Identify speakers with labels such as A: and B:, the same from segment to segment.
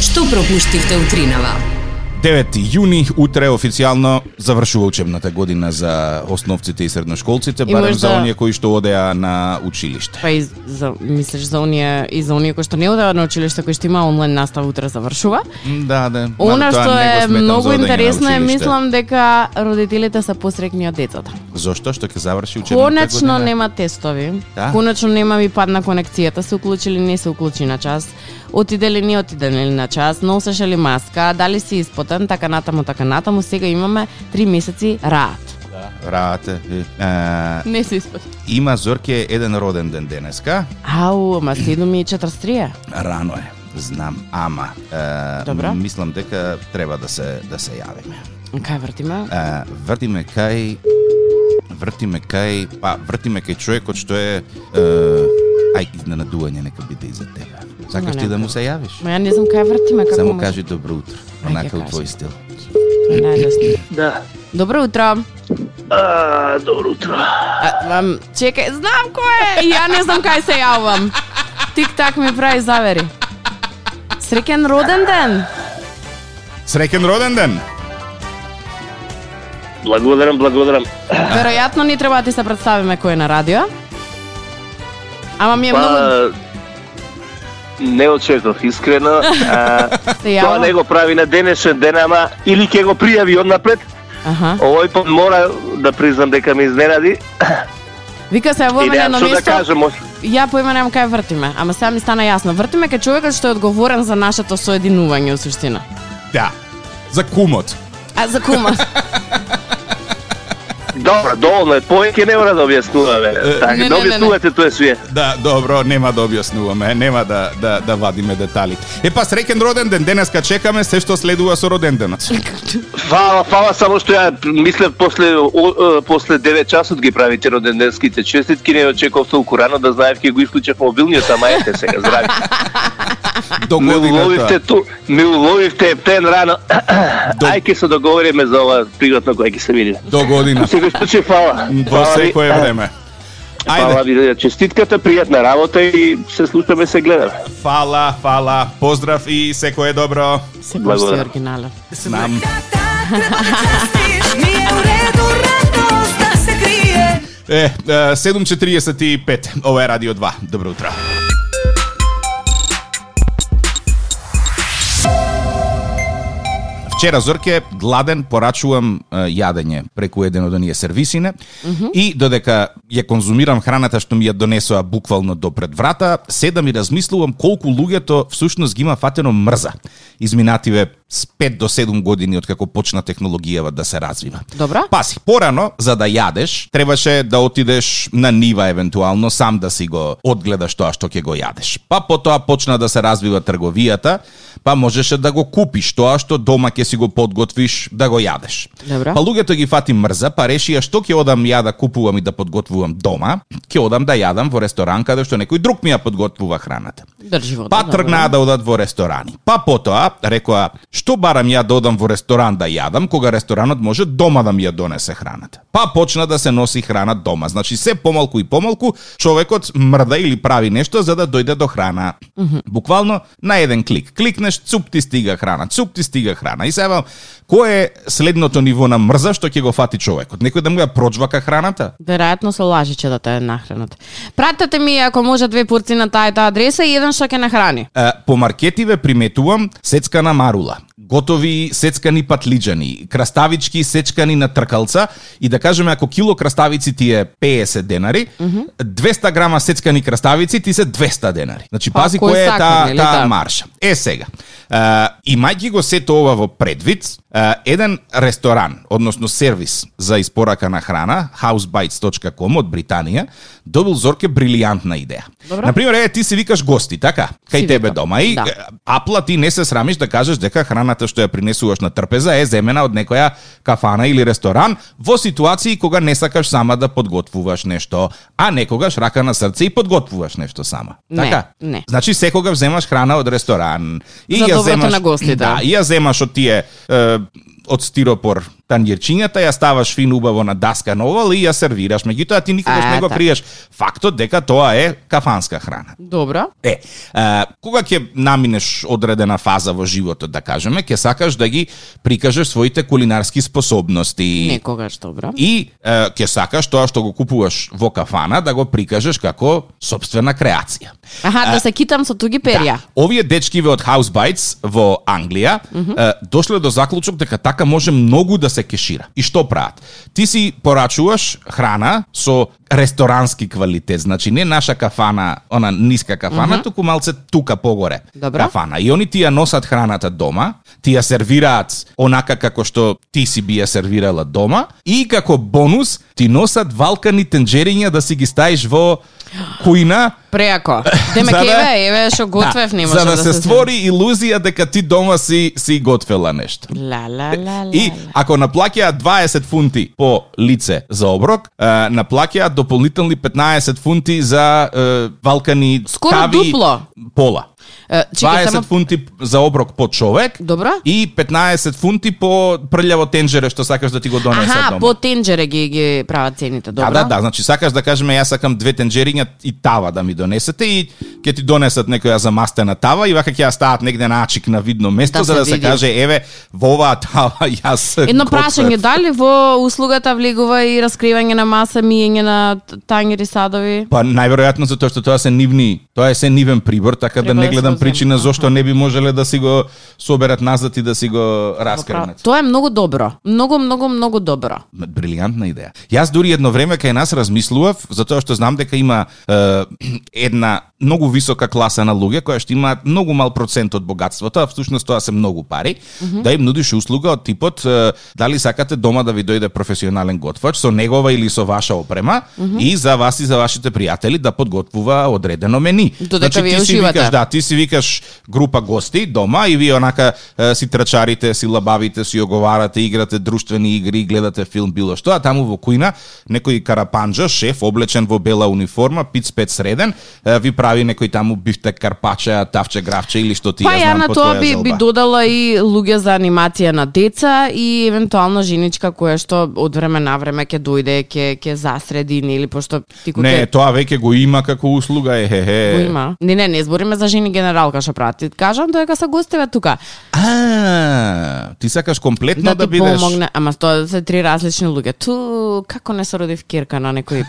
A: што пропуштивте утринава.
B: 9 јуни утре официјално завршува учебната година за основците и средношколците,
C: И да-
B: барем
C: можда-
B: за оние кои што одеа на училиште.
C: Па и за, мислиш за оние и за оние кои што не одеа на училиште кои што има онлайн настава утре завршува.
B: М, Да, да. мада
C: Она
B: тоа не
C: што
B: го
C: е
B: сметам за
C: многу
B: одење на
C: интересно е,
B: училиште.
C: мислам дека родителите се посрекни од децата.
B: Зошто што ќе заврши учебната
C: Конечно
B: година?
C: нема тестови.
B: Да?
C: Конечно нема ми падна конекцијата, се уклучи ли не се уклучи на час, отиде ли не отиде ли на час, носеше ли маска, дали си испотен, така натаму, така натаму, сега имаме три месеци раат.
B: Рате. Е,
C: Не се испотен.
B: има Зорке еден роден ден денеска.
C: Ау, ама 7 и 43.
B: Рано е, знам, ама е,
C: Добро.
B: мислам дека треба да се да се јавиме.
C: Кај вртиме?
B: Е, вртиме кај вртиме кај, па вртиме кај човекот што е, е ај изненадување нека биде и за тебе. Сакаш
C: Ма,
B: ти
C: не,
B: да му
C: не.
B: се јавиш?
C: Ма ја не знам кај вртиме, како
B: Само
C: може?
B: кажи добро утро,
C: Ај,
B: онака
C: ќе
B: у твој
C: кажам.
B: стил.
C: Тоа е најлесно.
D: Да.
C: Добро утро.
D: А, добро утро.
C: А, Вам, чекај, знам кој е. Ја не знам кај се јавам. Тик так ми прави завери. Среќен роден ден.
B: Среќен роден ден.
D: Благодарам, благодарам.
C: Веројатно ни треба да ти се представиме кој е на радио. Ама ми е многу
D: Па, не очеков искрено. А,
C: се
D: тоа не
C: јавам.
D: го прави на денешен ден, ама или ќе го пријави однапред.
C: Аха.
D: Овој пат мора да признам дека ме изненади.
C: Вика се во
D: И
C: мене
D: немам
C: на
D: што да
C: место.
D: кажам. ош-
C: Ја поима немам кај вртиме, ама сега ми стана јасно. Вртиме кај човекот што е одговорен за нашето соединување во суштина.
B: Да. За кумот.
C: А за кума.
D: Добро, доволно е. Повеќе не мора да
B: Е,
D: објаснуваме.
C: не, не,
D: Така, да
C: не, не.
D: објаснувате тоа свие.
B: Да, добро, нема да објаснуваме, нема да да да вадиме детали. Е па среќен роден ден, денеска чекаме се што следува со роден денот.
D: Фала, фала, само што ја мислев после о, е, после 9 часот ги правите роденденските честитки, не очеков толку рано да знаев ќе го исклучев мобилниот, ама ете сега здрави.
B: До
D: Ме уловивте
B: годината.
D: ту, ме уловивте ептен рано. Ај ќе се договориме за ова пригодно кога ќе се видиме.
B: До година.
D: Во секој случај фала.
B: Во
D: Фала ви.
B: секое време.
D: Фала
B: Ајде,
D: ви за честитката, пријатна работа и се слушаме, се гледаме.
B: фала, фала, поздрав и секое добро.
C: Се си
D: Благодарам.
C: оригинален.
B: Знам.
E: Nije u redu radost da se krije
B: Е, е, 7.45, ова е Радио 2. Добро утро. Вчера Зорке гладен порачувам е, јадење преку еден од оние сервисине и додека ја конзумирам храната што ми ја донесоа буквално до пред врата, седам и размислувам колку луѓето всушност ги има фатено мрза. Изминативе с 5 до 7 години откако почна технологијава да се развива.
C: Добро.
B: Паси, порано, за да јадеш, требаше да отидеш на нива, евентуално, сам да си го одгледаш тоа што ќе го јадеш. Па потоа почна да се развива трговијата, па можеше да го купиш тоа што дома ќе си го подготвиш да го јадеш.
C: Добра.
B: Па луѓето ги фати мрза, па решија што ќе одам ја да купувам и да подготвувам дома, ќе одам да јадам во ресторан каде што некој друг ми ја подготвува храната.
C: Држи вода.
B: Па
C: добро.
B: тргнаа да одат во ресторани. Па потоа рекоа, што барам ја да одам во ресторан да јадам, кога ресторанот може дома да ми ја донесе храната. Па почна да се носи храна дома. Значи се помалку и помалку човекот мрда или прави нешто за да дојде до храна. Буквално на еден клик. Кликнеш, цуп ти стига храна, цуп ти стига храна. И сега кое е следното ниво на мрза што ќе го фати човекот? Некој да му ја проџвака храната?
C: Веројатно со лажиче да те нахранат. Пратете ми ако може две порции на таа и таа адреса и еден што ќе нахрани.
B: Е, по маркетиве приметувам сецкана марула, готови сецкани патлиџани, краставички сечкани на тркалца и да кажеме ако кило краставици ти е 50 денари, 200 грама сецкани краставици ти се 200 денари. Значи
C: Па,
B: пази
C: кој
B: која е
C: сака,
B: таа
C: нели,
B: таа
C: да.
B: марша. Е сега, е, имајќи го сето ова во предвид, е, еден ресторан, односно сервис за испорака на храна, housebites.com од Британија, добил Зорке брилијантна идеја.
C: Добро.
B: Например, е, ти си викаш гости, така?
C: Си
B: Кај тебе
C: викам,
B: дома и
C: да.
B: е, апла ти не се срамиш да кажеш дека храната што ја принесуваш на трпеза е земена од некоја кафана или ресторан во ситуации кога не сакаш сама да подготвуваш нешто, а некогаш рака на срце и подготвуваш нешто сама.
C: Не,
B: така?
C: не.
B: Значи секогаш земаш храна од ресторан и
C: За
B: ја
C: доброто
B: земаш
C: на гостите.
B: Да, и ја земаш од тие е, од стиропор танјерчињата, ја ставаш фин убаво на даска на овал и ја сервираш. Меѓутоа ти никогаш
C: А,
B: не го
C: така.
B: криеш фактот дека тоа е кафанска храна.
C: Добро.
B: Е, а, кога ќе наминеш одредена фаза во животот, да кажеме, ќе сакаш да ги прикажеш своите кулинарски способности.
C: Некогаш добро.
B: И е, ќе сакаш тоа што го купуваш во кафана да го прикажеш како собствена креација.
C: Аха, да се китам со туги перја.
B: Да, овие дечкиве од House Bites во Англија mm -hmm. дошле до заклучок дека така може многу да се кешира. И што прават? Ти си порачуваш храна со ресторански квалитет, значи не наша кафана, она ниска кафана, туку малце тука погоре.
C: Добро.
B: Кафана. И они ти ја носат храната дома, ти ја сервираат онака како што ти си би ја сервирала дома и како бонус ти носат валкани тенџериња да си ги стаиш во кујна
C: Преако. Демек
B: За да-
C: еве, еве што готвев не може
B: за да, се
C: се
B: створи илузија дека ти дома си си готвела нешто.
C: Ла ла ла ла.
B: И ако наплаќаат 20 фунти по лице за оброк, е, наплаќаат дополнителни 15 фунти за е, валкани
C: Скоро
B: тави
C: дупло.
B: пола.
C: Е, Чекај
B: 20
C: само
B: фунти за оброк по човек
C: Добро.
B: и 15 фунти по прљаво тенџере што сакаш да ти го донесат
C: Аха,
B: дома.
C: по тенџере ги ги прават цените, добро?
B: Да, да, да, значи сакаш да кажеме јас сакам две тенџериња и тава да ми донесете и ќе ти донесат некоја замастена тава и вака ќе ја стават негде на ачик на видно место
C: Да
B: за
C: се
B: да се
C: види.
B: каже еве во оваа тава јас
C: Едно
B: готвев.
C: прашање, да. дали во услугата влегува и раскривање на маса, миење на т- тангери садови?
B: Па најверојатно затоа што тоа се нивни, тоа е се нивен прибор, така да
C: Треба
B: не
C: да
B: гледам
C: се го земе.
B: причина зошто не би можеле да си го соберат назад и да си го
C: Пра-
B: раскренат.
C: Тоа е многу добро. Многу, многу, многу добро.
B: брилијантна идеја. Јас дури едно време кај нас размислував, затоа што знам дека има е, една многу висока класа на луѓе која што имаат многу мал процент од богатството, а всушност тоа се многу пари, да им нудиш услуга од типот е, дали сакате дома да ви дојде професионален готвач со негова или со ваша опрема и за вас и за вашите пријатели да подготвува одредено мени.
C: Додека вие
B: ти си
C: уживате.
B: викаш, да, ти си викаш група гости дома и вие онака е, си трачарите, си лабавите, си оговарате, играте друштвени игри, гледате филм, било што, а таму во кујна некој карапанџа, шеф, облечен во бела униформа, пиц пет среден, е, ви прави некој таму бифтек, карпаче, тавче, гравче или што ти
C: Па
B: ја
C: ја
B: знам
C: на
B: по
C: тоа
B: твоја
C: би,
B: желба.
C: би додала и луѓе за анимација на деца и евентуално женичка која што од време на време ќе дојде, ќе ќе засреди или пошто ти кога
B: Не, тоа веќе го има како услуга, е, хе, хе.
C: Го има. Не, не, не збориме за жени генералка што прати. Кажам дека се гостеве тука.
B: А, ти сакаш комплетно да,
C: да, ти
B: бидеш...
C: помогне, ама тоа се три различни луѓе. Ту, како не се родив кирка на некој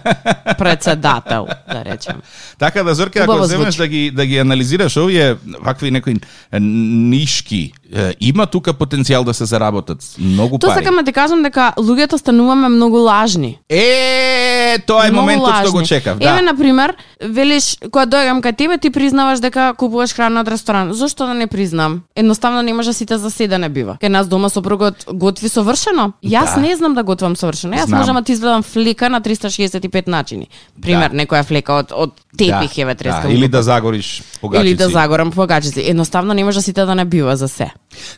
C: председател, да речем.
B: Така да Зорке, ако
C: Убаво
B: земеш
C: звучи.
B: да ги да ги анализираш овие вакви некои е, нишки, е, има тука потенцијал да се заработат многу
C: Тоа
B: пари.
C: сакам да ти кажам дека луѓето стануваме многу лажни.
B: Е, тоа па е
C: Многу
B: моментот што
C: лажни.
B: го чекав,
C: Еве
B: да.
C: на пример, велиш кога доаѓам кај тебе ти признаваш дека купуваш храна од ресторан. Зошто да не признам? Едноставно не да може сите за седене бива. Кај нас дома сопругот готви совршено. Јас
B: Да.
C: не знам да готвам совршено. Јас
B: Знам.
C: можам да ти изведам флека на 365 начини. Пример,
B: Да.
C: некоја флека од од тепих еве
B: да,
C: трескам.
B: или да загориш погачици.
C: Или да загорам погачици. Едноставно не може сите да не бива за се.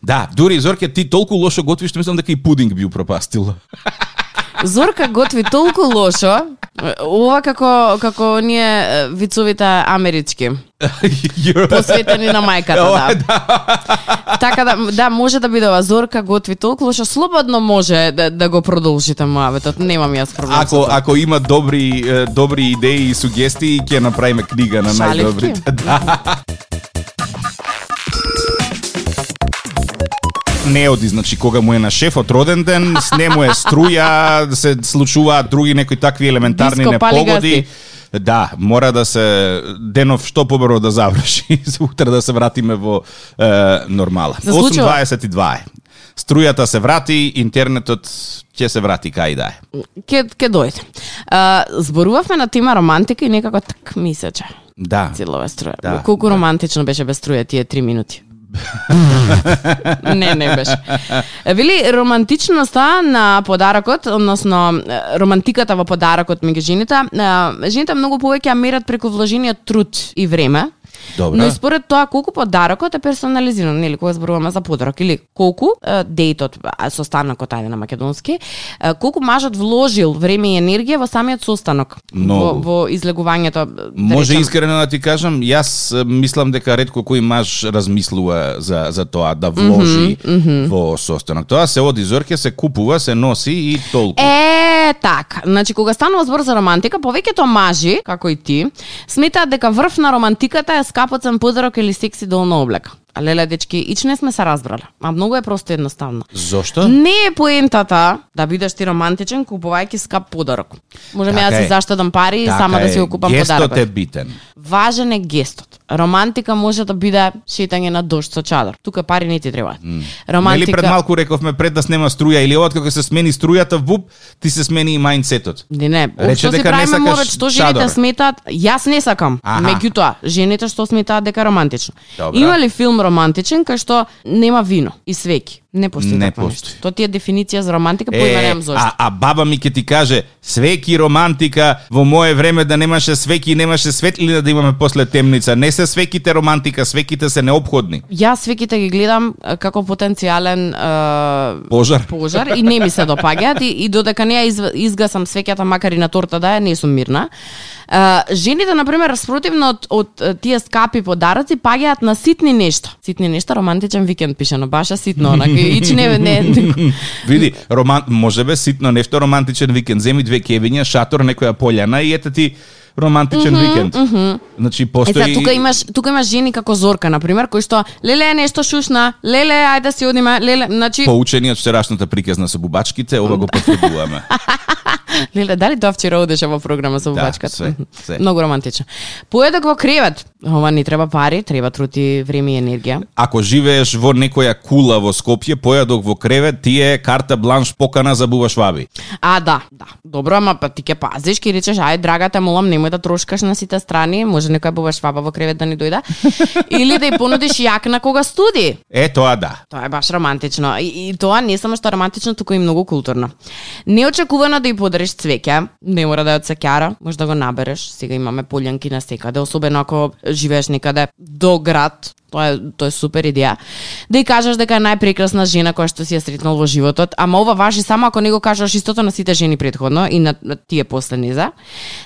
B: Да, дури Зорке ти толку лошо готвиш, што мислам дека и пудинг би упропастила.
C: Зорка готви толку лошо, ова како како ние е, вицовите амерички. посветени на
B: Ова,
C: мајката, да. Така да, да, може да биде ова зорка, готви толку што слободно може да, да го продолжите муабетот. Немам јас проблем со
B: Ако
C: тоа.
B: ако има добри е, добри идеи и сугестии, ќе направиме книга на
C: Шаливки.
B: најдобрите. Да. Не оди, значи кога му е на шефот роден ден, с не му е струја, се случуваат други некои такви елементарни
C: Диско, пали
B: непогоди.
C: гаси.
B: Да, мора да се денов што побрзо да заврши, за утре да се вратиме во е, нормала.
C: Се случува.
B: 8:22 е. Струјата се врати, интернетот ќе се врати кај да е.
C: Ке, ке дојде. А, зборувавме на тема романтика и некако так ми се че.
B: Да.
C: Целова струја.
B: Да,
C: Да, Колку
B: да.
C: да. романтично беше без струја тие три минути. не, не беше. Вели романтичноста на подарокот, односно е, романтиката во подарокот меѓу жените, е, жените многу повеќе ја мерат преку вложениот труд и време.
B: Добра.
C: Но и според тоа колку подарокот е персонализиран, нели кога зборуваме за подарок или колку е, дејтот а, состанокот ајде на македонски, е, колку мажот вложил време и енергија во самиот состанок, во,
B: Многу.
C: во излегувањето. да
B: Може
C: речем.
B: искрено да ти кажам, јас е, мислам дека ретко кој маж размислува за, за тоа да вложи во состанок. Тоа се оди зорке, се купува, се носи и толку.
C: Е, така. Значи, кога станува збор за романтика, повеќето мажи, како и ти, сметаат дека врв на романтиката е скапоцен подарок или секси долна облека. А леле, дечки, ич не сме се разбрале. А многу е просто едноставно.
B: Зошто?
C: Не е поентата да бидеш ти романтичен купувајќи скап подарок. Можеме
B: Така
C: да
B: е.
C: си заштедам пари и
B: Така
C: сама да
B: е,
C: си го купам
B: Гестот
C: подарокот.
B: е битен.
C: Важен е гестот. Романтика може да биде шетање на дожд со чадар. Тука пари не ти требаат.
B: Нели пред малку рековме пред да снема струја или од како се смени струјата вуп, ти се смени и мајндсетот.
C: Не, не,
B: Рече
C: општо си
B: дека не
C: правиме
B: сакаш
C: морец, што жените
B: чадор.
C: сметаат, јас не сакам.
B: Аха.
C: Меѓутоа, жените што сметаат дека романтично.
B: Добра.
C: Има ли филм романтичен кај што нема вино и свеки? Не постои
B: Не
C: такво
B: постои.
C: нешто. Тоа ти е дефиниција за романтика, па поима
B: Е,
C: немам зошто.
B: а, а баба ми ќе ти каже, свеки романтика, во мое време да немаше свеки, немаше светлина да имаме после темница. Не се свеките романтика, свеките се необходни.
C: Јас свеките ги гледам е, како потенцијален е,
B: Пожар.
C: пожар и не ми се допаѓаат и, и додека не ја изв- изгасам свеќата макар и на торта да е, не сум мирна. А, жените на пример спротивно од, од е, тие скапи подароци паѓаат на ситни нешта. Ситни нешта романтичен викенд пишано, баша ситно онака и ич не не. не-
B: Види, роман, може бе ситно нешто романтичен викенд. Земи две кевиња, шатор, некоја полјана и ете ти романтичен викенд. Значи
C: Е,
B: постои
C: сега, тука имаш тука имаш жени како Зорка на пример кои што леле нешто шушна, леле ајде си одиме, леле, значи
B: поучени од вчерашната приказна со бубачките, ова
C: Да.
B: го потврдуваме.
C: Леле, дали тоа вчера одеше во програма со
B: Да,
C: бубачката?
B: све, све.
C: Многу романтично. Поедок во кревет. Ова не треба пари, треба трути време и енергија.
B: Ако живееш во некоја кула во Скопје, појадок во кревет, ти е карта бланш покана за бубашваби.
C: А, да, да. Добро, ама па ти ќе пазиш, ќе речеш, ај, драгата, молам, немој да трошкаш на сите страни, може некоја бува шваба во кревет да не дојде. Или да ја понудиш јакна кога студи.
B: Е, тоа да.
C: Тоа е баш романтично. И, и тоа не само што е романтично, туку и многу културно. Неочекувано да ја подариш цвеќе, не мора да е од цекјара, може да го набереш. Сега имаме полјанки на секаде, особено ако живееш некаде до град. Тоа е, тоа е супер идеја. Да ја кажеш дека е најпрекрасна жена која што си ја сретнал во животот, ама ова важи само ако не го кажеш истото на сите жени предходно и на на тие последни за.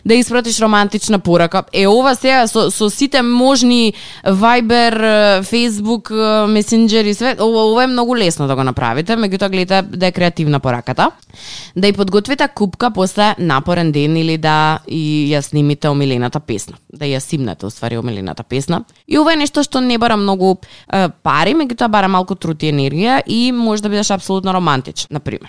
C: Да ја испратиш романтична порака. Е ова се со, со сите можни Viber, е, Facebook, е, Messenger и све, ова, ова е многу лесно да го направите, меѓутоа гледа да е креативна пораката. Да ја подготвите купка после напорен ден или да и ја снимите омилената песна. Да ја симнете, уствари, омилената песна. И ова е нешто што не бара многу е, пари, меѓутоа бара малку труд и енергија и може да бидеш апсолутно романтичен, на пример.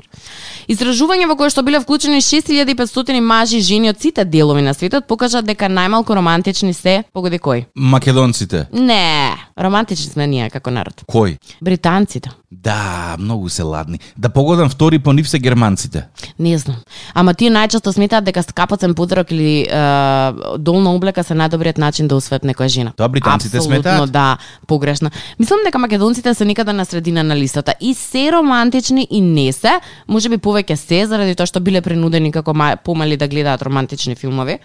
C: Истражување во кое што биле вклучени 6500 мажи и жени од сите делови на светот покажа дека најмалку романтични се, погоди кој?
B: Македонците.
C: Не, романтични сме ние како народ.
B: Кој?
C: Британците.
B: Да, многу се ладни. Да погодам втори по нив се германците.
C: Не знам. Ама тие најчесто сметаат дека скапоцен подарок или е, долна облека се најдобриот начин да усвојат некоја жена.
B: Тоа британците
C: Апсолутно,
B: сметаат?
C: да, погрешно. Мислам дека македонците се никаде на средина на листата и се романтични и не се, можеби повеќе се заради тоа што биле принудени како ма- помали да гледаат романтични филмови.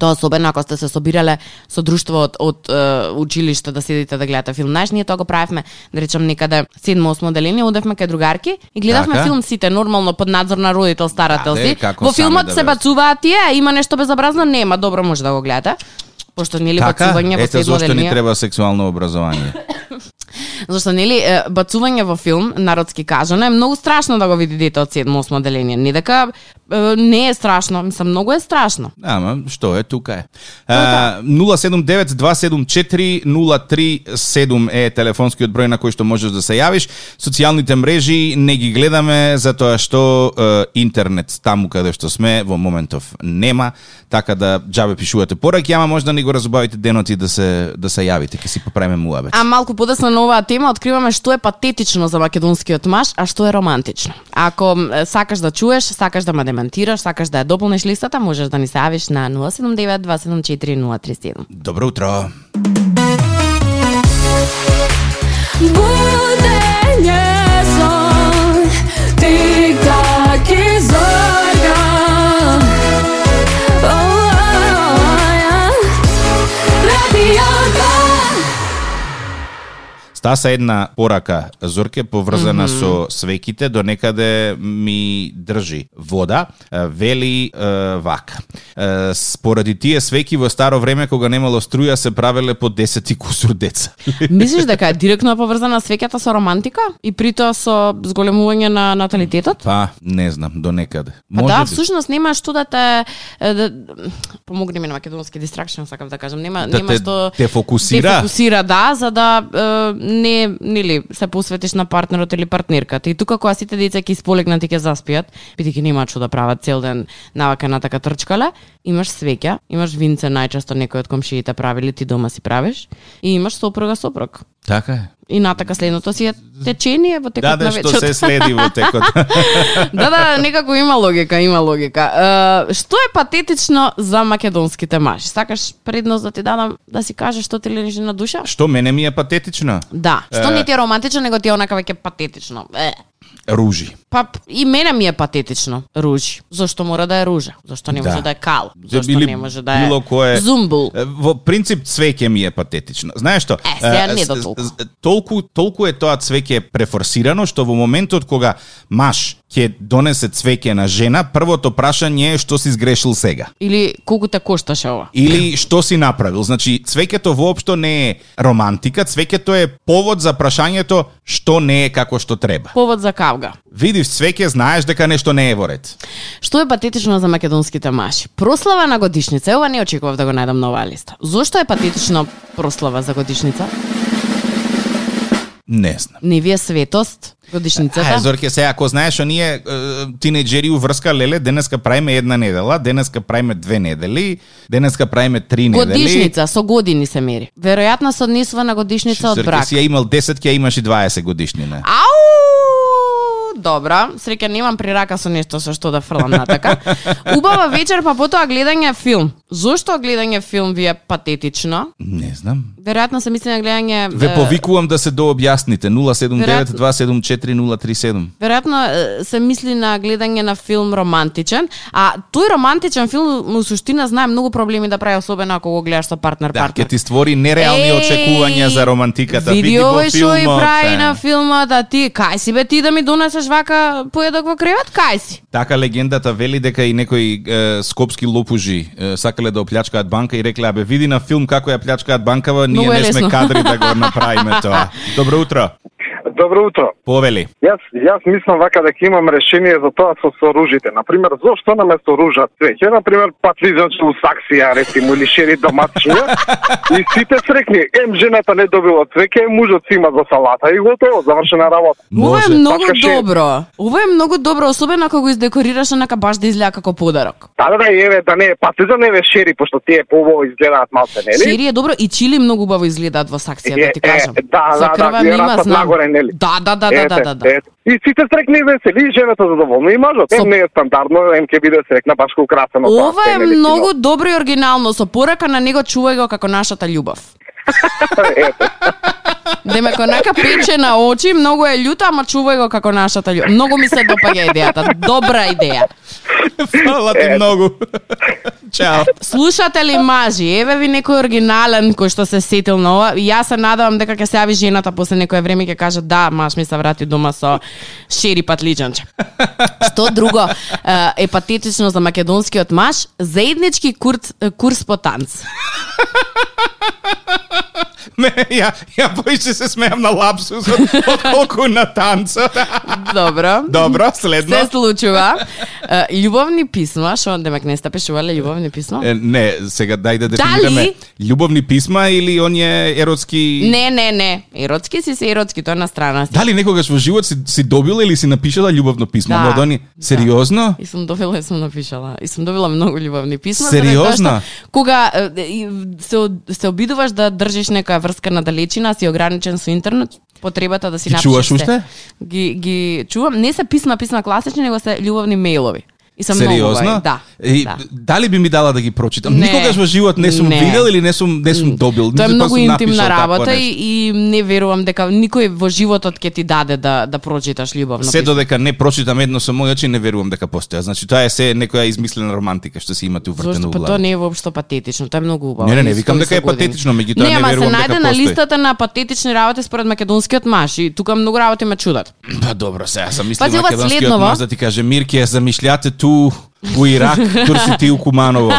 C: Тоа особено ако сте се собирале со друштво од, од е, училиште да седите да гледате филм. Знаеш, ние тоа го правевме, да речам некаде 7-8 деление, одевме кај другарки и гледавме
B: Така.
C: филм сите нормално под надзор на родител старател
B: Абе,
C: си.
B: како
C: Во
B: сами
C: филмот
B: да
C: се
B: бе.
C: бацуваат тие, има нешто безобразно, нема, добро може да го гледате. Пошто нели
B: Така,
C: бацување во
B: ете
C: седмо
B: зошто ни
C: деление.
B: треба сексуално образование.
C: Зашто нели е, бацување во филм, народски кажано, е многу страшно да го види дете од 7-8 деление. Не дека е, не е страшно, мислам многу е страшно.
B: Ама, што е, тука е. А, 079-274-0377 е телефонскиот број на кој што можеш да се јавиш. Социјалните мрежи не ги гледаме затоа што е, интернет таму каде што сме во моментов нема, така да джабе пишувате пораки, ама може да ни го разубавите денот и да се да се јавите, ќе си поправиме муабет.
C: А малку подоцна на оваа тема откриваме што е патетично за македонскиот маж, а што е романтично. Ако е, сакаш да чуеш, сакаш да ме демантираш, сакаш да ја дополниш листата, можеш да ни се јавиш на 079 274 037.
B: Добро утро.
E: Будење сон Тик-так и зорга Радио 2
B: Стаса една порака, Зорке, поврзана со свеките, до некаде ми држи вода, Е, вели е, вака. Е, споради тие свеки во старо време, кога немало струја, се правеле по 10 и кусур деца.
C: Мислиш дека е директно поврзана свеќата со романтика и притоа со зголемување на наталитетот?
B: Па, не знам, до некаде.
C: Па да,
B: би.
C: всушност нема што да те е, да, помогни ми на македонски дистракшн, сакам да кажам, нема
B: Да
C: нема
B: те-
C: што
B: те фокусира?
C: Те фокусира, да, за да е, не нели се посветиш на партнерот или партнерката. И тука кога сите деца ќе исполегнат и ќе заспијат, бидејќи немаат што да прават цел ден навака на така трчкале, имаш свеќа, имаш винце најчесто некој од комшиите правили, ти дома си правиш и имаш сопруга сопруг.
B: Така е.
C: И натака следното си е течение
B: Да,
C: во текот
B: да,
C: на
B: што
C: вечерот.
B: се следи во текот.
C: да, да, некако има логика, има логика. Е, што е патетично за македонските мажи? Сакаш предност да ти дадам да си кажеш што ти лежи на душа?
B: што мене ми е патетично?
C: Да, што не ти е романтично, него ти е онака веќе патетично. Е.
B: Ружи.
C: Па п- и мене ми е патетично ружи. Зошто мора да е ружа? Зошто не може
B: Да.
C: да, е кал? Зошто
B: Или
C: не може да е
B: било кое...
C: зумбул?
B: Е, Во принцип цвеќе ми е патетично. Знаеш што?
C: Е, сега
B: Е,
C: не
B: с-
C: до толку.
B: с- Толку, толку е тоа цвеќе префорсирано, што во моментот кога маж ќе донесе цвеќе на жена, првото прашање е што си сгрешил сега.
C: Или колку те кошташе ова?
B: Или што си направил. Значи, цвеќето воопшто не е романтика, цвеќето е повод за прашањето што не е како што треба.
C: Повод за кавга.
B: Видиш цвеќе, знаеш дека нешто не е во ред.
C: Што е патетично за македонските маши? Прослава на годишница. Е, Ова не очекував да го најдам на оваа листа. Зошто е патетично прослава за годишница?
B: Не знам.
C: Не ви е светост
B: Ај,
C: годишницата?
B: Зорке, сега, ако знаеш, оние е, тинеджери уврска леле, денеска правиме една недела, денеска правиме две недели, денеска правиме три недели.
C: Годишница, со години се мери. Веројатно се однесува на годишница од
B: Зорке,
C: брак.
B: си ја имал 10, ќе ја имаш и 20 годишнина.
C: Ау! Добра, среќа немам при рака со нешто со што да фрлам натака. Убава вечер, па потоа гледање филм. Зошто гледање филм ви е патетично?
B: Не знам.
C: Веројатно се мисли на гледање...
B: Ве
C: е,
B: повикувам да се дообјасните. 079-274-037.
C: Веројатно е, се мисли на гледање на филм романтичен, а тој романтичен филм у суштина знае многу проблеми да прави, особено ако го гледаш со партнер
B: Да,
C: партнер.
B: ќе ти створи нереални
C: Еј,
B: очекувања за романтиката. Види во
C: овој што
B: филмот.
C: и прави
B: е.
C: на филмот, а ти, кај си бе ти да ми донесеш вака поедок во кревет, кај си?
B: Така легендата вели дека и некои е, скопски лопужи е, сакале да опљачкаат банка и рекле абе види на филм како ја плячкаат банкава, ние
C: Многу е
B: не сме
C: лесно.
B: кадри да го направиме тоа. Добро утро.
A: Добро утро.
B: Повели.
A: Јас јас мислам вака дека имам решение за тоа со соружите. На пример, зошто наместо ружа цвеќе, на пример, патлизонче у саксија, рецимо, или шери домачија, и сите срекни, ем жената не добила цвеќе, ем мужот си има за салата и готово, завршена работа.
C: Ова е многу
A: Сакаше-
C: добро. Ова е многу добро, особено ако го издекорираш онака баш да изгледа како подарок.
A: Да, да, да, и еве да не е патлизон, еве шери, пошто тие поубаво изгледаат малце, нели?
C: Шери е добро и чили многу убаво изгледаат во саксија, да ти
A: Е, е,
C: кажам.
A: да,
C: За
A: да, да,
C: крва
A: ги
C: ми има,
A: растат
C: знам.
A: нагоре, нели?
C: Да, да, да, да, да, да, да.
A: ете. И сите срекни и весели, и жената задоволна, и мажот.
C: Со-
A: Ем не е стандардно, ем ќе биде срекна баш украсено. тоа,
C: Ова
A: се,
C: е
A: нели,
C: многу добро и оригинално, со порака на него чувај го како нашата љубов.
A: кино. Ете.
C: Демеко нака пече на очи, многу е љута, ама чувај го како нашата љубов. Многу ми се допаѓа идејата, добра идеја.
B: Фала ти многу. Чао.
C: Слушате ли мажи, еве ви некој оригинален кој што се сетил на ова. Јас се надевам дека ќе се јави жената после некое време и ќе каже да, маш ми се врати дома со шери патлиџанче. Што друго е, е патетично за македонскиот маж? Заеднички курс, курс по танц.
B: Ме, ја, ја поише се смеам на лапсусот, отколку на танцот.
C: Добро.
B: Добро, следно.
C: Се случува. Е, Љубовни писма, што демек не сте пишувале љубовни писма?
B: Е, не, сега дај да дефинираме. Љубовни писма или оние еротски...
C: Не, не, не. Еротски си се еротски, тоа е на страна си.
B: Дали некогаш во живот си, си добила или си напишала љубовно писмо?
C: Да.
B: Младони,
C: Да.
B: сериозно?
C: И сум добила и сум напишала. И сум добила многу љубовни писма.
B: Сериозно?
C: заради тоа што Кога е, и се, од- се обидуваш да држиш некоја врска на далечина, си ограничен со интернет, потребата да си
B: Ги
C: напишеш
B: чуваш
C: се.
B: уште?
C: Ги, ги чувам. Не се писма, писма класични, него се љубовни мејлови. И сам
B: Сериозно?
C: многу да.
B: И,
C: да.
B: дали би ми дала да ги прочитам?
C: Не.
B: Никогаш во живот не сум
C: Не.
B: видел или не сум, не сум добил. па
C: Тоа е
B: ниту
C: многу
B: сум напишал
C: интимна
B: такво
C: работа
B: нешто.
C: и, и не верувам дека никој во животот ќе ти даде да да прочиташ љубовно
B: Се
C: писмо.
B: додека не прочитам едно со моји очи, не верувам дека постоја. Значи, тоа е се некоја измислена романтика што се има ту вртено
C: Зошто
B: у
C: па тоа
B: глава.
C: не е воопшто патетично, тоа е многу убаво.
B: Не, не, не,
C: Исто
B: викам
C: ми
B: дека
C: се
B: е
C: години.
B: патетично, меѓутоа не
C: ама
B: верувам
C: се
B: дека
C: најде на
B: постои.
C: листата на патетични работи според македонскиот маш и тука многу работи ме чудат.
B: Па добро, сега сам мислил
C: Пази, ова
B: македонскиот
C: следново.
B: маз да ти каже Мирке, замишљате ту у Ирак, турси ти у Куманово.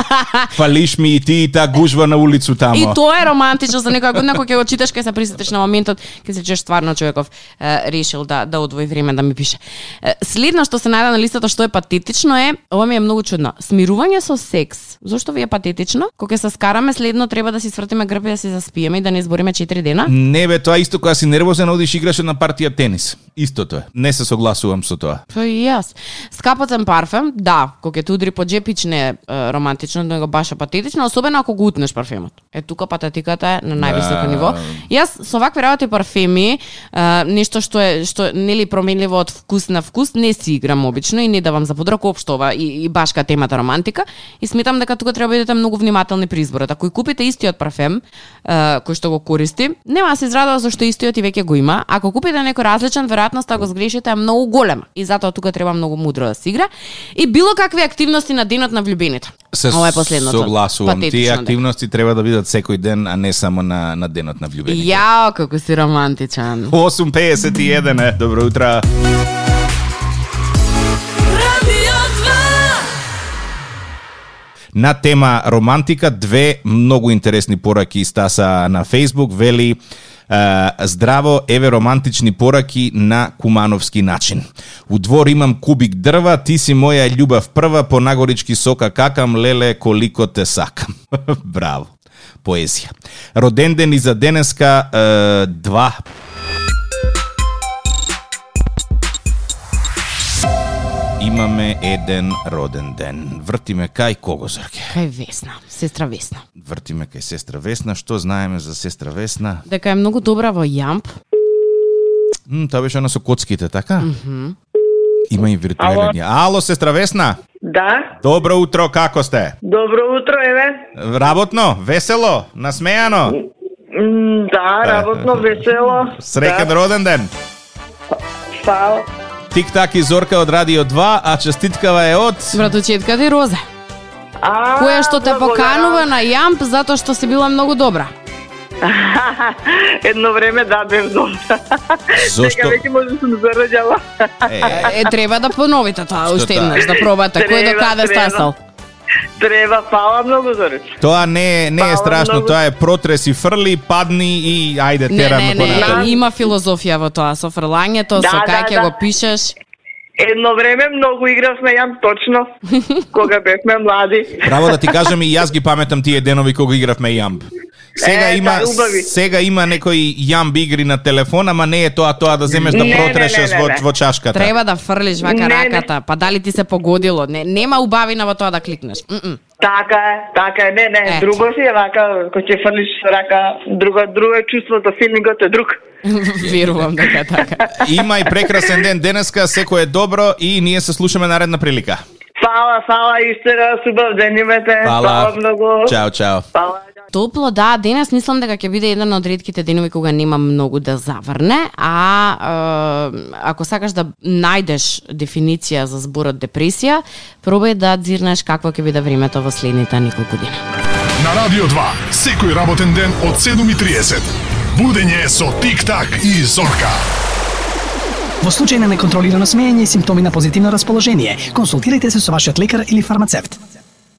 B: Фалиш ми и ти и та гужва на улицу тамо.
C: И тоа е романтично за некоја година кога ќе го читаш, ќе се присетиш на моментот, ќе се чуеш стварно човеков е, решил да да одвои време да ми пише. Е, следно што се најде на листата што е патетично е, ова ми е многу чудно. Смирување со секс. Зошто ви е патетично? Кога ќе се скараме следно треба да си свртиме грб и да се заспиеме и да не збориме 4 дена?
B: Не бе, тоа е исто кога си нервозен одиш и играш една партија тенис. Истото е. Не се согласувам со тоа.
C: Па и јас. Скапоцен парфем, да, кога ќе те удри по џепич не е е, романтично, него баш е патетично, особено ако го утнеш парфемот. Е тука патетиката е на највисоко
B: Да.
C: ниво. Јас со вакви работи парфеми, е, нешто што е што нели променливо од вкус на вкус, не си играм обично и не давам за подрок општо ова и, и башка темата романтика и сметам дека тука треба да бидете многу внимателни при изборот. Ако и купите истиот парфем е, кој што го користи, нема да се израдува зашто истиот и веќе го има. Ако купите некој различен, веројатноста да го сгрешите е многу голема и затоа тука треба многу мудро да се игра и било какви активности на денот на влюбените.
B: Се
C: Ова е последното.
B: согласувам. Тие
C: Патетично, да.
B: активности треба да бидат секој ден, а не само на, на денот на влюбените.
C: Јао, како си романтичен.
B: 8.51 е. Добро утро.
E: Radio 2.
B: на тема романтика две многу интересни пораки стаса на Facebook вели е, здраво, еве романтични пораки на кумановски начин. У двор имам кубик дрва, ти си моја љубав прва, по нагорички сока какам, леле, колико те сакам. Браво. Поезија. Роден ден и за денеска е, два имаме еден роден ден. Вртиме кај кого, Зорке?
C: Кај Весна, сестра Весна.
B: вртиме кај сестра Весна. Што знаеме за сестра Весна?
C: Дека е многу добра во јамп.
B: М, тоа беше она со коцките, така? Има и виртуелен. ја. Ало, сестра Весна?
F: Да,
B: Добро утро, како сте?
F: добро утро, еве.
B: Работно, весело, насмејано,
F: М, Да, работно, весело.
B: среќен
F: да,
B: роден ден.
F: Фал.
B: Тик-так и Зорка од Радио 2, а честиткава е од...
C: Братучетка ти Роза,
F: А,
C: која што те
F: благодарам.
C: поканува на јамп затоа што си била многу добра.
F: Едно време да бев добра.
B: Зошто?
F: Сега веќе па. може да сум зараѓала.
B: Е,
C: Е, треба да поновите тоа
B: Што
C: уште
B: таа?
C: еднаш, да пробате кој до
F: Треба,
C: каде
F: треба.
C: стасал.
F: Треба, фала многу, Зорич.
B: тоа не, не е
F: Фала
B: страшно,
F: многу.
B: тоа е протрес и фрли, падни и ајде
C: Не,
B: терам
C: не,
B: понатаму.
C: не, има филозофија во тоа, со фрлањето,
F: Да,
C: со
F: да,
C: кај ќе
F: да.
C: го пишеш.
F: Едно време многу игравме јам точно, кога бевме млади.
B: Право да ти кажам и јас ги паметам тие денови кога игравме јамб. Сега
F: Е,
B: има
F: да, убави.
B: сега има некои јамб игри на телефон, ама не е тоа тоа да земеш да
F: Не, не,
B: протрешеш
F: не, не,
B: во
F: не.
B: во чашката.
C: Треба да фрлиш вака
F: Не, не.
C: раката, па дали ти се погодило? Не, нема убавина во тоа да кликнеш. Мм.
F: Така е, така е, не, не,
C: Е.
F: друго си е вака, кој ќе фрлиш рака, друго, друго е чувството, филингот е друг.
C: Верувам дека е така.
B: Има и прекрасен ден денеска, секој е добро и ние се слушаме наредна прилика.
F: Фала, фала, исто раз, убав ден имате.
B: Фала.
F: фала многу.
B: Чао, чао.
F: Фала,
C: Топло, да, денес мислам дека ќе биде еден од ретките денови кога нема многу да заврне, а е, ако сакаш да најдеш дефиниција за зборот депресија, пробај да дзирнеш какво ќе биде времето во следните неколку дена.
G: На Радио 2, секој работен ден од 7.30. Будење со Тик-так и Зорка.
H: Во случај на неконтролирано смеење и симптоми на позитивно расположение, консултирайте се со вашиот лекар или фармацевт.